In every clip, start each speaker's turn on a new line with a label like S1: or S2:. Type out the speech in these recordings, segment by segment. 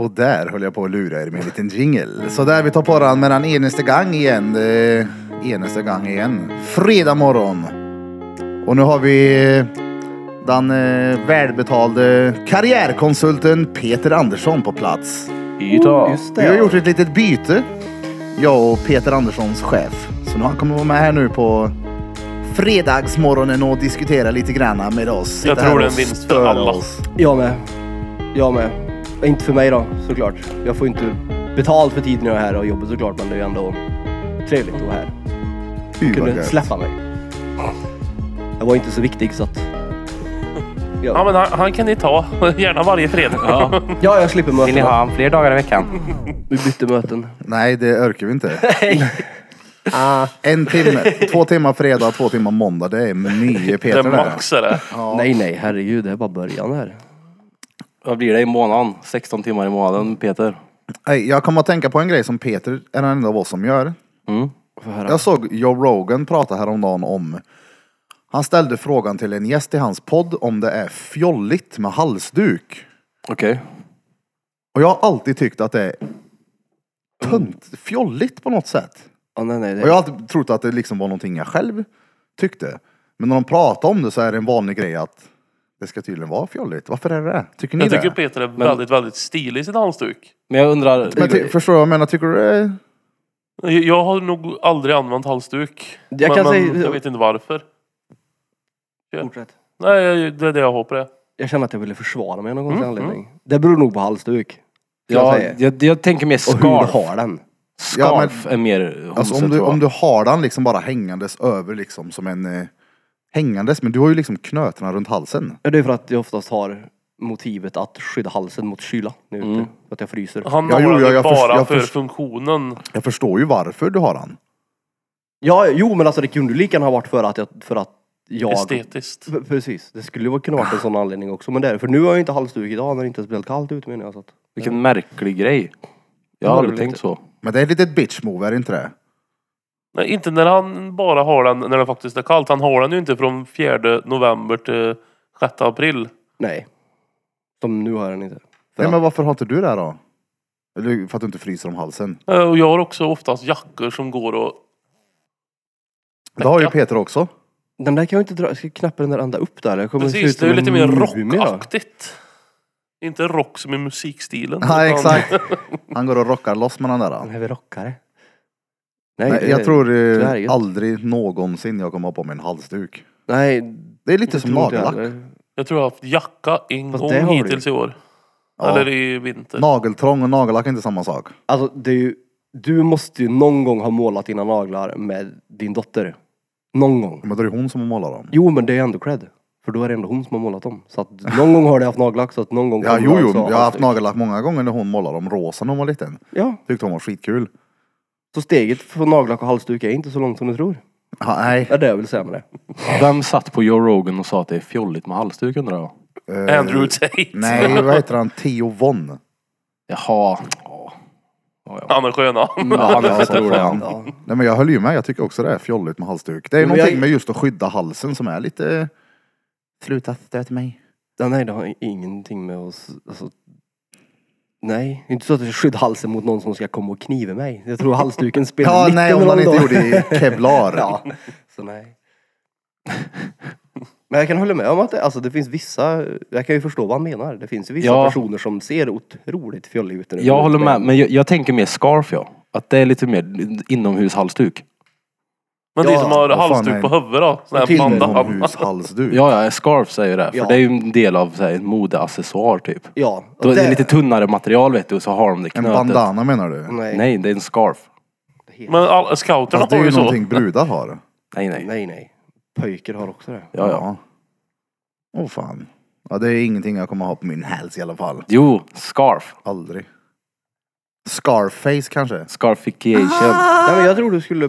S1: Och där höll jag på att lura er med en liten jingle. Så där vi tar på den med den enaste gång igen. Eh, Enaste gång igen. Fredag morgon. Och nu har vi eh, den eh, välbetalde karriärkonsulten Peter Andersson på plats.
S2: Idag.
S3: Just
S1: Vi har
S3: det.
S1: gjort ett litet byte. Jag och Peter Anderssons chef. Så nu han kommer vara med här nu på fredagsmorgonen och diskutera lite grann med oss. Sitta
S2: Jag tror
S1: här
S2: det är
S1: och
S2: en vinst för
S1: störa
S2: alla.
S1: oss.
S3: Jag med. Jag med. Inte för mig då såklart. Jag får ju inte betalt för tiden jag är här och jobbet såklart men det är ju ändå trevligt att vara här.
S1: Fy, vad
S3: Kunde
S1: gött.
S3: släppa mig. Jag var inte så viktig så att...
S2: Ja,
S3: Ja,
S2: men han, han kan ni ta. Gärna varje fredag.
S4: Ja.
S3: ja jag slipper
S4: Vill ni
S3: möten.
S4: ha han fler dagar i veckan?
S3: Vi bytte möten.
S1: Nej, det orkar vi inte.
S3: Ah.
S1: En timme, två timmar fredag, två timmar måndag. Det är nio
S2: Det är
S1: Peter där.
S2: max är det.
S3: Nej nej herregud det är bara början här.
S4: Vad blir det i månaden? 16 timmar i månaden, Peter.
S1: Nej, Jag kommer att tänka på en grej som Peter är den enda av oss som gör.
S4: Mm.
S3: Får höra.
S1: Jag såg Joe Rogan prata häromdagen om han ställde frågan till en gäst i hans podd om det är fjolligt med halsduk.
S4: Okej.
S1: Och jag har alltid tyckt att det är tönt, fjolligt på något sätt.
S3: Ja, nej, nej, det...
S1: Och jag har alltid trott att det liksom var någonting jag själv tyckte. Men när de pratar om det så är det en vanlig grej att det ska tydligen vara fjolligt. Varför är det det? Tycker ni
S2: Jag tycker
S1: det?
S2: Peter är väldigt, väldigt stilig i sin halsduk.
S4: Men jag undrar,
S1: Men ty- förstår du vad jag menar? Tycker du det är...
S2: Jag- Jag har nog aldrig använt halsduk.
S3: Jag
S2: men,
S3: kan
S2: men
S3: säga-
S2: jag vet inte varför.
S3: Fortsätt.
S2: Nej, jag- det är det jag har på det.
S3: Jag känner att jag ville försvara mig av någon konstig anledning. Det beror nog på halsduk. Jag
S4: jag,
S3: säger.
S4: jag, jag tänker mer
S3: Och hur du
S4: scarf.
S3: har den.
S1: Ja, men-
S4: Scarf är mer homse,
S1: Alltså om du,
S4: tror jag.
S1: om du har den liksom bara hängandes över liksom som en... Eh, hängandes, men du har ju liksom knötarna runt halsen.
S3: Ja, det är för att jag oftast har motivet att skydda halsen mot kyla när jag är
S1: Mm.
S3: ute. För att jag fryser.
S2: Han
S1: Ja,
S2: har
S1: jo,
S2: den
S1: ja,
S2: ju
S1: jag
S2: bara
S1: förs- jag
S2: för
S1: förs-
S2: funktionen.
S1: Jag förstår ju varför du har den.
S3: Ja, jo men alltså det kunde lika gärna ha varit för att jag... För att jag...
S2: Estetiskt.
S3: P- Precis. Det skulle ju kunna varit en sån anledning också. Men det är det. För nu har jag ju inte halsduk idag när det inte är speciellt kallt ute menar jag. Så att...
S4: Vilken märklig grej. Jag
S3: Det
S4: har
S3: var
S4: aldrig
S3: väl
S4: tänkt
S3: lite-
S4: så.
S1: Men det är ett litet bitch move, är det inte det?
S2: Nej, inte när han bara har den när det faktiskt är kallt. Han har den ju inte från 4 november till 6 april.
S3: Nej. Som nu har jag den inte. För
S1: Nej,
S3: att-
S1: men varför har inte du det då? Eller för att du inte fryser om halsen.
S2: Eh, Och jag har också oftast jackor som går och...
S1: Det har ju Peter också.
S3: Den där kan jag ju inte dra. Jag ska knäppa den där ända upp där. Jag kommer se
S2: Precis,
S3: ut
S2: det är ju
S3: som
S2: lite
S3: en
S2: mer
S1: Mm.
S3: mumie då.
S2: rockaktigt. Inte rock som i musikstilen.
S1: Nej,
S2: utan-
S1: exakt. Han går och rockar loss med den där.
S3: Den
S1: då.
S3: här vi rockare.
S1: Nej,
S3: det-
S1: jag tror
S3: det
S1: eh,
S3: är gött.
S1: aldrig någonsin jag kommer ha på mig en halsduk.
S3: Nej.
S1: Det är lite som
S3: tror inte jag
S1: nagellack.
S3: heller.
S2: Jag tror jag har haft jacka en
S3: Fast
S2: gång
S3: det har du ju.
S2: hittills i år.
S1: Ja.
S2: Eller i vinter.
S1: Nageltrång och nagellack är inte samma sak.
S3: Alltså det är ju, du måste ju någon gång ha målat dina naglar med din dotter. Någon gång.
S1: Men då är det hon som har målat dem.
S3: Jo men det är ju ändå cred. För då är det ändå hon som har målat dem. Så att någon gång har du haft nagellack så att någon gång
S1: Ja,
S3: kommer
S1: jo,
S3: du
S1: jo.
S3: också
S1: Jag har haft
S3: halsduk.
S1: nagellack många gånger när hon målade dem rosa när hon var liten.
S3: Ja,
S1: Tyckte hon var skitkul.
S3: så steget från nagellack och halsduk är inte så långt som du tror.
S1: Ja, nej.
S3: Det är det jag vill säga med det.
S4: Vem satt på Joe Rogan och sa att det är fjolligt med halsduk undrar jag?
S1: Eh,
S2: Andrew Tate.
S1: Nej, vad heter han? Theo Von.
S4: Jaha. Ja. Ja, ja.
S2: Han är skön han.
S4: Ja, han är fett rolig han.
S3: Ja.
S1: Nej men jag höll ju med, jag tycker också det är fjolligt med halsduk. Det är
S3: Men
S1: någonting
S3: jag-
S1: med just att skydda halsen som är lite... Sluta stöta mig.
S3: Ja, nej, det har ingenting med oss... Alltså, nej, det är inte så att jag skyddar halsen mot någon som ska komma och kniva mig. Jag tror halsduken spelar
S1: Ja,
S3: lite
S1: nej om
S3: roll
S1: man inte
S3: då.
S1: gjorde i kevlar.
S3: Ja, så nej. Men jag kan hålla med om att det, alltså, det finns vissa, jag kan ju förstå vad han menar. Det finns ju vissa
S4: Ja.
S3: personer som ser otroligt fjolliga ut. när de går
S4: Jag
S3: ut
S4: håller
S3: med
S4: med,
S3: en-
S4: men jag, jag tänker mer scarf ja. Att det är lite mer inomhushalsduk.
S2: Men de
S3: Ja,
S2: som har
S1: vad fan
S2: halsduk
S1: är-
S2: på huvudet då. Sån här
S3: Till-
S2: bandana.
S1: Inomhushalsduk.
S4: Ja, ja, scarf säger det. För
S3: Ja.
S4: det är ju en del av så här, en modeaccessoar typ.
S3: Ja. och
S4: Då är det lite tunnare material vet du och så har de det
S1: En
S4: knötet.
S1: bandana menar du?
S3: nej, nej.
S4: Nej, det är en scarf.
S2: Men all, scouterna
S1: Fast det
S2: har
S1: är
S2: ju
S1: ju
S2: så.
S1: någonting brudar har.
S4: Nej, nej.
S3: nej, nej. Pojkar har också det.
S4: Ja, ja.
S1: Åh fan. Ja, det är ingenting jag kommer ha på min hals i alla fall.
S4: Jo, scarf.
S1: Aldrig. Scarface kanske?
S4: Scarification.
S1: Ah!
S3: Nej, men jag tror du skulle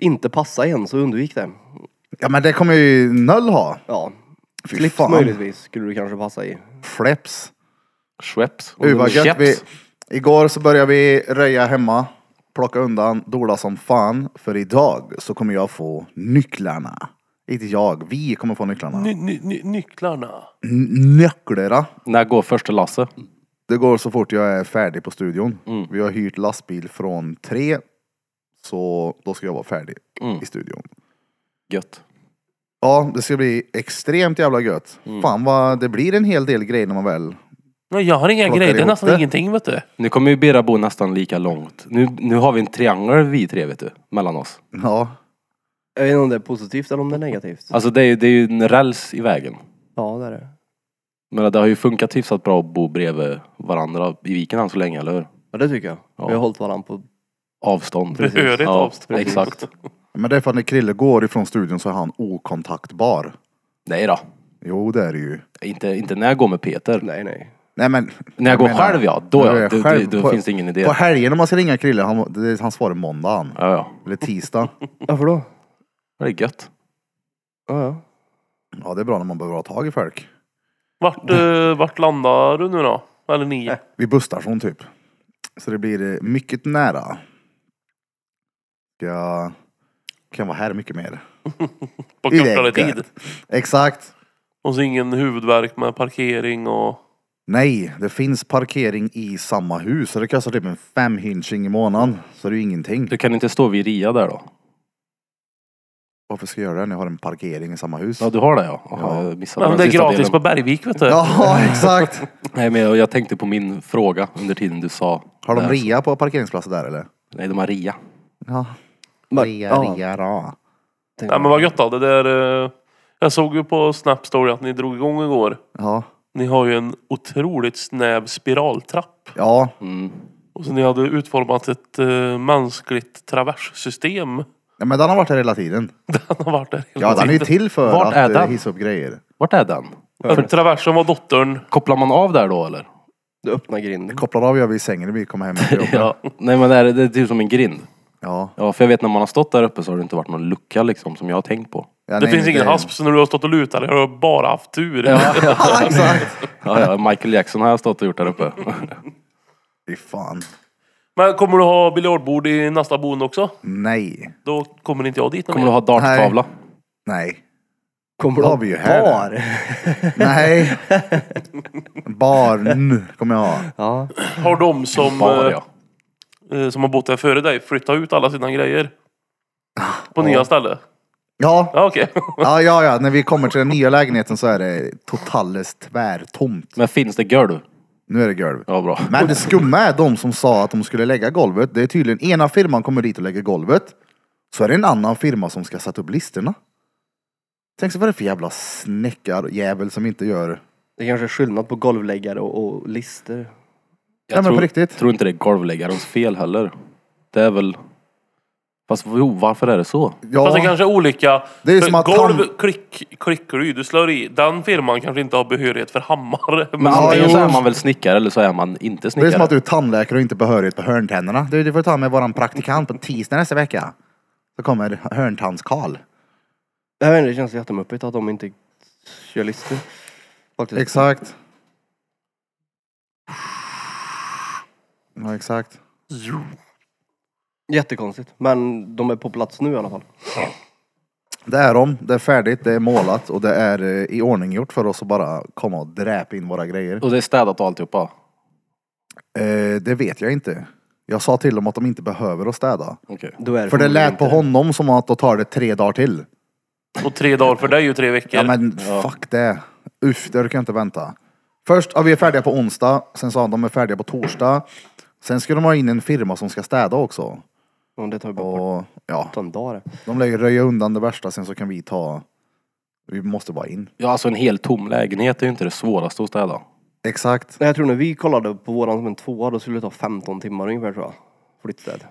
S3: inte passa igen så undvik det.
S1: Ja men det kommer ju Null ha.
S3: Ja.
S1: Fy
S3: Slips
S1: fan.
S3: möjligtvis skulle du kanske passa i.
S1: Fleps.
S4: Schweppes.
S1: Uh, vad gött.
S4: Scheps.
S1: Vi, igår så började vi röja hemma. Plocka undan, dola som fan. För idag så kommer jag få nycklarna. Inte jag, vi kommer få nycklarna.
S2: Ny, ny, ny, nycklarna.
S1: N- nycklarna.
S4: När går första lasset?
S1: Det går så fort jag är färdig på studion.
S4: Mm.
S1: Vi har hyrt lastbil från tre. Så då ska jag vara färdig
S4: Mm.
S1: i studion.
S4: Gött.
S1: Ja, det ska bli extremt jävla gött.
S4: Mm.
S1: Fan vad det blir en hel del grejer när man väl...
S2: Nej, jag har inga
S1: Plockar
S2: grejer. Det är
S1: ihop
S2: nästan
S1: det.
S2: ingenting vet du.
S4: Nu kommer ju Bera bo nästan lika långt. Nu, nu har vi en triangel vi tre vet du, mellan oss.
S1: Ja.
S3: Jag vet inte om det är positivt eller om det är negativt.
S4: Alltså det är ju, det är ju en räls i vägen.
S3: Ja, det är det.
S4: Men det har ju funkat hyfsat bra att bo bredvid varandra i viken än så länge, eller hur?
S3: Ja, det tycker jag.
S4: Ja.
S3: Vi har hållit varandra på...
S4: Avstånd.
S2: Behörigt
S4: ja,
S2: avstånd.
S4: Exakt.
S1: Men det är för att när Krille går ifrån studion så är han okontaktbar.
S4: Nej då.
S1: Jo, det är det ju.
S4: Inte, inte när jag går med Peter.
S3: Nej, nej.
S1: Nej men...
S4: När jag går
S1: menar-
S4: själv ja, då,
S1: När
S4: ja,
S1: jag är
S4: då,
S1: själv
S4: då, då
S1: på-
S4: finns det ingen idé.
S1: På
S4: Ja,
S1: helgen om man ska ringa Krille, han, det- han svarar måndag han.
S4: ja.
S1: Eller tisdag.
S3: Varför då?
S4: Det är gött.
S3: Ja, ja.
S1: Ja, det är bra när man behöver ha tag i folk.
S2: Vart, eh, vart landar du nu då? Eller ni?
S3: Nej.
S1: Vid busstation typ. Så det blir eh, mycket nära. Jag kan vara här mycket mer.
S2: På
S1: Det är
S2: kortare
S1: gött.
S2: tid.
S1: Exakt.
S2: Och så ingen huvudvärk med parkering och...
S1: Nej, det finns parkering i samma hus. Så det kostar typ en femhinching i månaden. Så det är ju ingenting.
S4: Du kan inte stå vid Ria där då?
S1: Varför ska jag göra det när jag har en parkering i samma hus?
S4: Ja, du har det ja. Aha,
S1: Ja.
S4: jag missade
S2: Nej, men
S4: den
S2: det är
S4: sista
S2: gratis
S4: delen.
S2: på Bergvik vet du.
S1: Ja, exakt.
S4: Nej, men jag, jag tänkte på min fråga under tiden du sa.
S1: Har de
S4: det.
S1: rea på parkeringsplatser där eller?
S4: Nej, de har Ria.
S1: Ja.
S3: Men-
S1: Rea,
S3: ja.
S1: rea, ra.
S2: Nej men vad gött då. Det där... eh, Jag såg ju på Snapstory att ni drog igång igår.
S1: Ja.
S2: Ni har ju en otroligt snäv spiraltrapp.
S1: Ja,
S4: Mm.
S2: Och så ni hade utformat ett eh, mänskligt traverssystem.
S1: Nej, men den har varit här hela tiden.
S2: Den har varit där hela
S1: Ja, den är ju
S2: tiden.
S1: till för
S4: Vart
S1: att
S4: är
S1: eh,
S4: den?
S1: hissa upp grejer.
S4: Vart är den?
S2: För traversen var dottern.
S4: Kopplar man av där då eller?
S3: Du öppnar grinden.
S1: Kopplar av gör vi i sängen när vi kommer hem. efter jobbet.
S4: Ja. Nej men det är, det är typ som en grind.
S1: Ja.
S4: Ja, för jag vet när man har stått där uppe så har det inte varit någon lucka liksom som jag har tänkt på.
S1: Ja,
S2: det
S1: nej,
S2: finns ingen
S1: är-
S2: hasp så när du har stått och lutat dig har du bara haft tur.
S1: Ja, exakt.
S4: Ja, ja, Michael Jackson har jag stått och gjort där uppe.
S1: Fy fan.
S2: Men kommer du ha biljardbord i nästa boende också?
S1: Nej.
S2: Då kommer inte jag dit någon
S4: Kommer du ha darttavla?
S1: Nej.
S3: Kommer
S1: Då har vi ju här.
S3: Var?
S1: Nej. Barn kommer jag ha.
S3: Ja.
S2: mer. Har de som,
S4: Bar, ja.
S2: eh, eh, som har bott där före dig flyttat ut alla sina grejer?
S1: Ah,
S2: På nya ställen?
S1: Ja.
S2: Ja okej.
S1: ja, ja, ja. När vi kommer till den nya lägenheten så är det totalt tvärtomt.
S4: Men finns det golv?
S1: Nu är det golv.
S4: Ja, bra.
S1: Men det skumma är de som sa att de skulle lägga golvet. Det är tydligen ena firman kommer dit och lägger golvet. Så är det en annan firma som ska sätta upp listorna. Tänk så vad det är för jävla snäckarjävel som inte gör...
S3: Det kanske är skillnad på golvläggare och, och lister.
S4: Jag
S1: Nej, men på
S4: tror,
S1: riktigt.
S4: tror inte det är golvläggarens fel heller. Det är väl... Fast jo, varför är det så?
S1: Ja,
S2: Fast det kanske är olika.
S1: Det är
S2: För
S1: som att
S2: golv
S1: han-
S2: klick, klickar du i, du slår i. Den firman kanske inte har behörighet för hammare. Men
S4: Men
S1: Ja,
S4: antingen
S1: jo.
S4: så är man väl snickare eller så är man inte
S1: det är som
S4: snickare.
S1: att du är tandläkare och inte behörighet på hörntänderna. Du, du får ta med våran praktikant på tisdag nästa vecka. Så kommer hörntandskarl.
S3: Jag vet inte, det känns jättemuppigt att de inte kör lister. Faktiskt.
S1: Exakt. Ja, exakt.
S3: Jättekonstigt. Men de är på plats nu i alla fall.
S1: Det är de, det är färdigt, det är målat och det är eh, i ordning gjort för oss att bara komma och dräpa in våra grejer.
S4: Och det är städat och alltihopa.
S1: Eh, det vet jag inte. Jag sa till dem att de inte behöver att städa.
S4: Okej.
S3: Då är
S1: För det lät på
S3: inte-
S1: honom som att då tar det tre dagar till.
S2: Och tre dagar för dig och tre veckor.
S1: Ja men fuck det. Uff, det orkar jag inte vänta. Först, ja, vi är färdiga på onsdag. Sen sa han de är färdiga på torsdag. Sen ska de ha in en firma som ska städa också.
S3: Ja, Det tar ju bara bort
S1: Och ja,
S3: en dag det.
S1: de lär ju röja undan det värsta sen så kan vi ta... Vi måste bara in.
S4: Ja, alltså en helt tom lägenhet är ju inte det svåraste att städa.
S1: Exakt.
S3: Nej, jag tror när vi kollade på våran som en tvåa, då skulle det ta 15 timmar ungefär tror jag. Flyttstäd.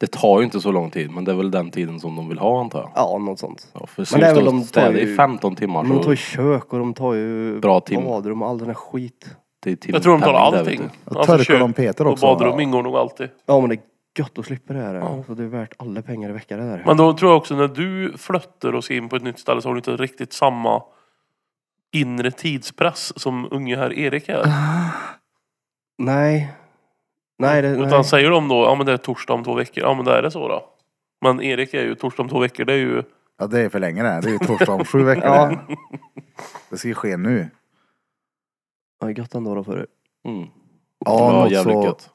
S4: Det tar ju inte så lång tid, men det är väl den tiden som de vill ha antar jag.
S3: Ja, något sånt.
S4: Ja, för
S3: Men det är väl
S4: står
S3: de
S4: och städar
S3: tar ju-
S4: i 15 timmar
S3: Men de tar
S4: så
S3: ju kök och de tar ju
S4: Bra tim.
S3: badrum och all den här skit.
S4: det är timpenning
S2: jag tror de tar
S4: där,
S2: allting. Alltså,
S4: vet du.
S1: Och törkar de Peter också.
S2: Och badrum ingår nog alltid.
S3: Ja men det är gött att slippa det här. Så det är värt alla pengar i veckan det där.
S2: Men då tror jag också när du flyttar och ska in på ett nytt ställe så har du inte riktigt samma inre tidspress som unge herr Erik är.
S3: Nej. Nej, det, nej.
S2: Utan säger de då, ja men det är torsdag om två veckor, ja men det är det så då. Men Erik är ju, torsdag om två veckor det är ju,
S1: Ja det är för länge det här. Det är ju torsdag om sju veckor.
S3: Ja.
S1: Det ska ju ske nu.
S3: Ja, gött ändå då för er.
S4: Mm.
S1: Ja, något
S4: jävligt
S1: så.
S4: gött.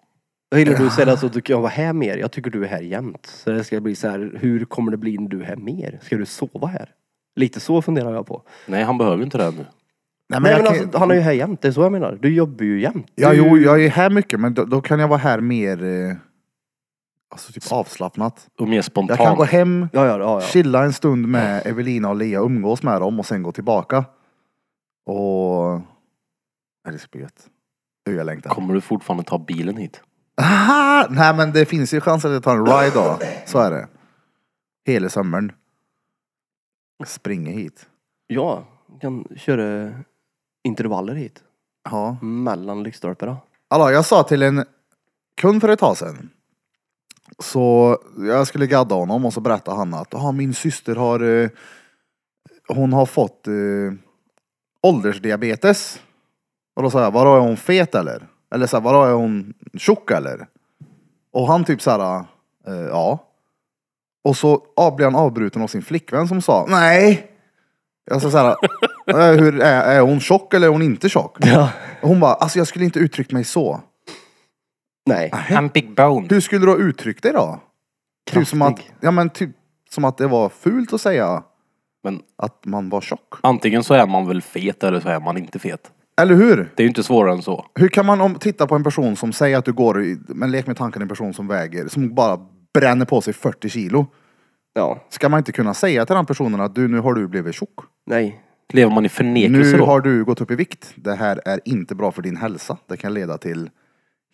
S3: Jag gillar att du säger så, du kan vara här mer. Jag tycker du är här jämt. Så det ska bli så här, hur kommer det bli när du är här mer? Ska du sova här? Lite så funderar jag på.
S4: Nej, han behöver ju inte det här nu.
S1: Nej, men
S3: Nej
S1: jag
S3: men
S1: kan-
S3: alltså, han är ju här jämt, det är så jag menar. Du jobbar ju jämt.
S1: Ja,
S3: Du-
S1: jo, jag är här mycket, men då, då kan jag vara här mer eh, alltså typ avslappnat.
S4: Och mer
S1: Jag
S4: spontant.
S1: kan gå hem,
S3: Ja, ja, ja. ja.
S1: chilla en stund med Evelina och Lea, umgås med dem och sen gå tillbaka. Och... Nej, det ska bli gött. Du, jag längtar.
S4: Kommer du fortfarande ta bilen hit?
S1: Aha! Nej, men det finns ju chans att jag tar en ride då. Så är det. Hela sommaren. Springer hit.
S3: Ja, du kan köra intervaller hit.
S1: Ja.
S3: Mellan lyktstolparna.
S1: Alltså, jag sa till en kund för ett tag sedan. Så jag skulle gadda honom och så berättade han att ah, min syster har eh, hon har fått eh, åldersdiabetes. Och då sa jag, vadå är hon fet eller? Eller så här, vadå är hon tjock eller? Och han typ såhär, eh, ja. Och så ah, blev han avbruten av sin flickvän som sa, nej. Jag sa såhär, "Eh, hur är, är hon tjock eller är hon inte tjock?
S3: Ja.
S1: Och Hon bara, alltså jag skulle inte uttryckt mig så.
S3: Nej.
S1: Ah,
S4: I'm big bone.
S1: Hur skulle du ha uttryckt dig då? Typ som att,
S3: Kraftig.
S1: ja men typ som att det var fult att säga
S4: Men
S1: att man var tjock.
S4: antingen så är man väl fet eller så är man inte fet.
S1: Eller hur?
S4: Det är ju inte svårare än så.
S1: Hur kan man om, titta på en person som säger att du går, i- men lek med tanken en person som väger, som bara bränner på sig 40 kilo.
S3: Ja.
S1: Ska man inte kunna säga till den personen att du, nu har du blivit tjock.
S3: Nej.
S4: Lever man i förnekelse
S1: Nu
S4: då?
S1: har du gått upp i vikt. Det här är inte bra för din hälsa. Det kan leda till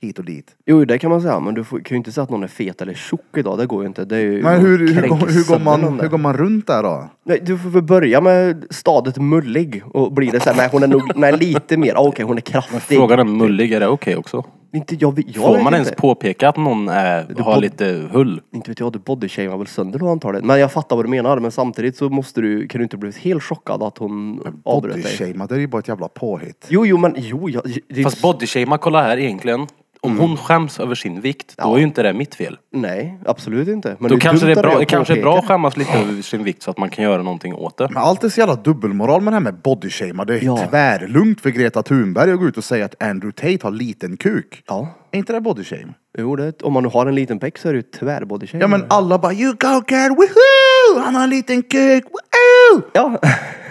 S1: hit och dit.
S3: Jo, det kan man säga. Men du får, kan ju inte säga att någon är fet eller tjock idag. Det går ju inte. Det är ju
S1: Men hur, hur,
S3: kränker
S1: går- hur, går,
S3: sönder
S1: man,
S3: någon
S1: hur går man runt där då?
S3: Nej, du får väl börja med stadigt mullig och blir det såhär, nej hon är nog, nej lite mer, ah, okej hon är kraftig.
S4: Frågan är mullig, är det okej också?
S3: Inte jag, vet- jag
S4: Får
S3: vet
S4: man ens
S3: inte.
S4: påpeka att någon är, har
S3: bod-
S4: lite hull?
S3: Inte vet jag, du bodyshamear väl sönder då antagligen. Men jag fattar vad du menar, men samtidigt så måste du, kan du inte blivit helt chockad att hon avbröt dig?
S1: Bodyshamea, det är ju bara ett jävla påhitt.
S3: Jo, jo men jo, jag, det, är-
S4: Fast bodyshamea, kolla här egentligen. Om
S3: Mm.
S4: hon skäms över sin vikt, då är ju inte det mitt fel.
S3: nej, absolut inte. Men
S4: Då
S3: är
S4: kanske
S3: dumt
S4: det
S3: av
S4: är
S3: dig
S4: bra,
S3: att
S4: det kanske är bra att
S3: påpeka.
S4: skämmas lite över sin vikt så att man kan göra någonting åt det.
S1: Men allt är så jävla dubbelmoral med det här med bodyshamea. Det är
S3: Ja.
S1: tvärlugnt för Greta Thunberg att gå ut och säga att Andrew Tate har liten kuk.
S3: Ja,
S1: Är inte det bodyshame?
S3: jo det, om man nu har en liten peck så är det ju tvär
S1: Ja
S3: Mm.
S1: men alla bara you go girl, woohoo! Han har en liten kuk, woohoo!
S3: ja.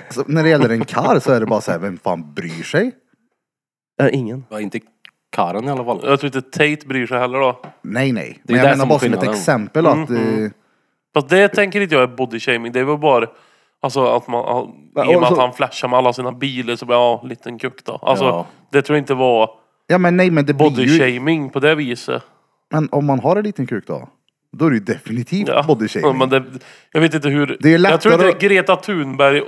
S1: Så när det gäller en karl så är det bara så här, vem fan bryr sig?
S3: Nej, ingen.
S4: Ja, inte Karen i alla fall.
S2: Jag tror inte Tate bryr sig heller då.
S1: Nej nej.
S4: är
S1: Men jag
S4: där
S1: menar
S4: som
S1: bara som ett
S4: skillnaden. Mm,
S1: exempel att... eh,
S2: Fast det tänker inte jag är body shaming. Det är väl bara alltså, att man... I och med
S1: alltså-
S3: och så-
S2: att han flashar med alla sina bilar så blir ja, liten kuck då. Alltså,
S4: Ja.
S2: det tror jag inte var
S1: ja men nej men det blir
S2: body
S1: ju...
S2: shaming på det viset.
S1: Men om man har en liten kuk då? Då är det ju definitivt
S2: Ja. Ja,
S1: bodyshaming.
S2: Men det, jag vet inte hur...
S1: Det är lättare
S2: jag tror inte
S1: att-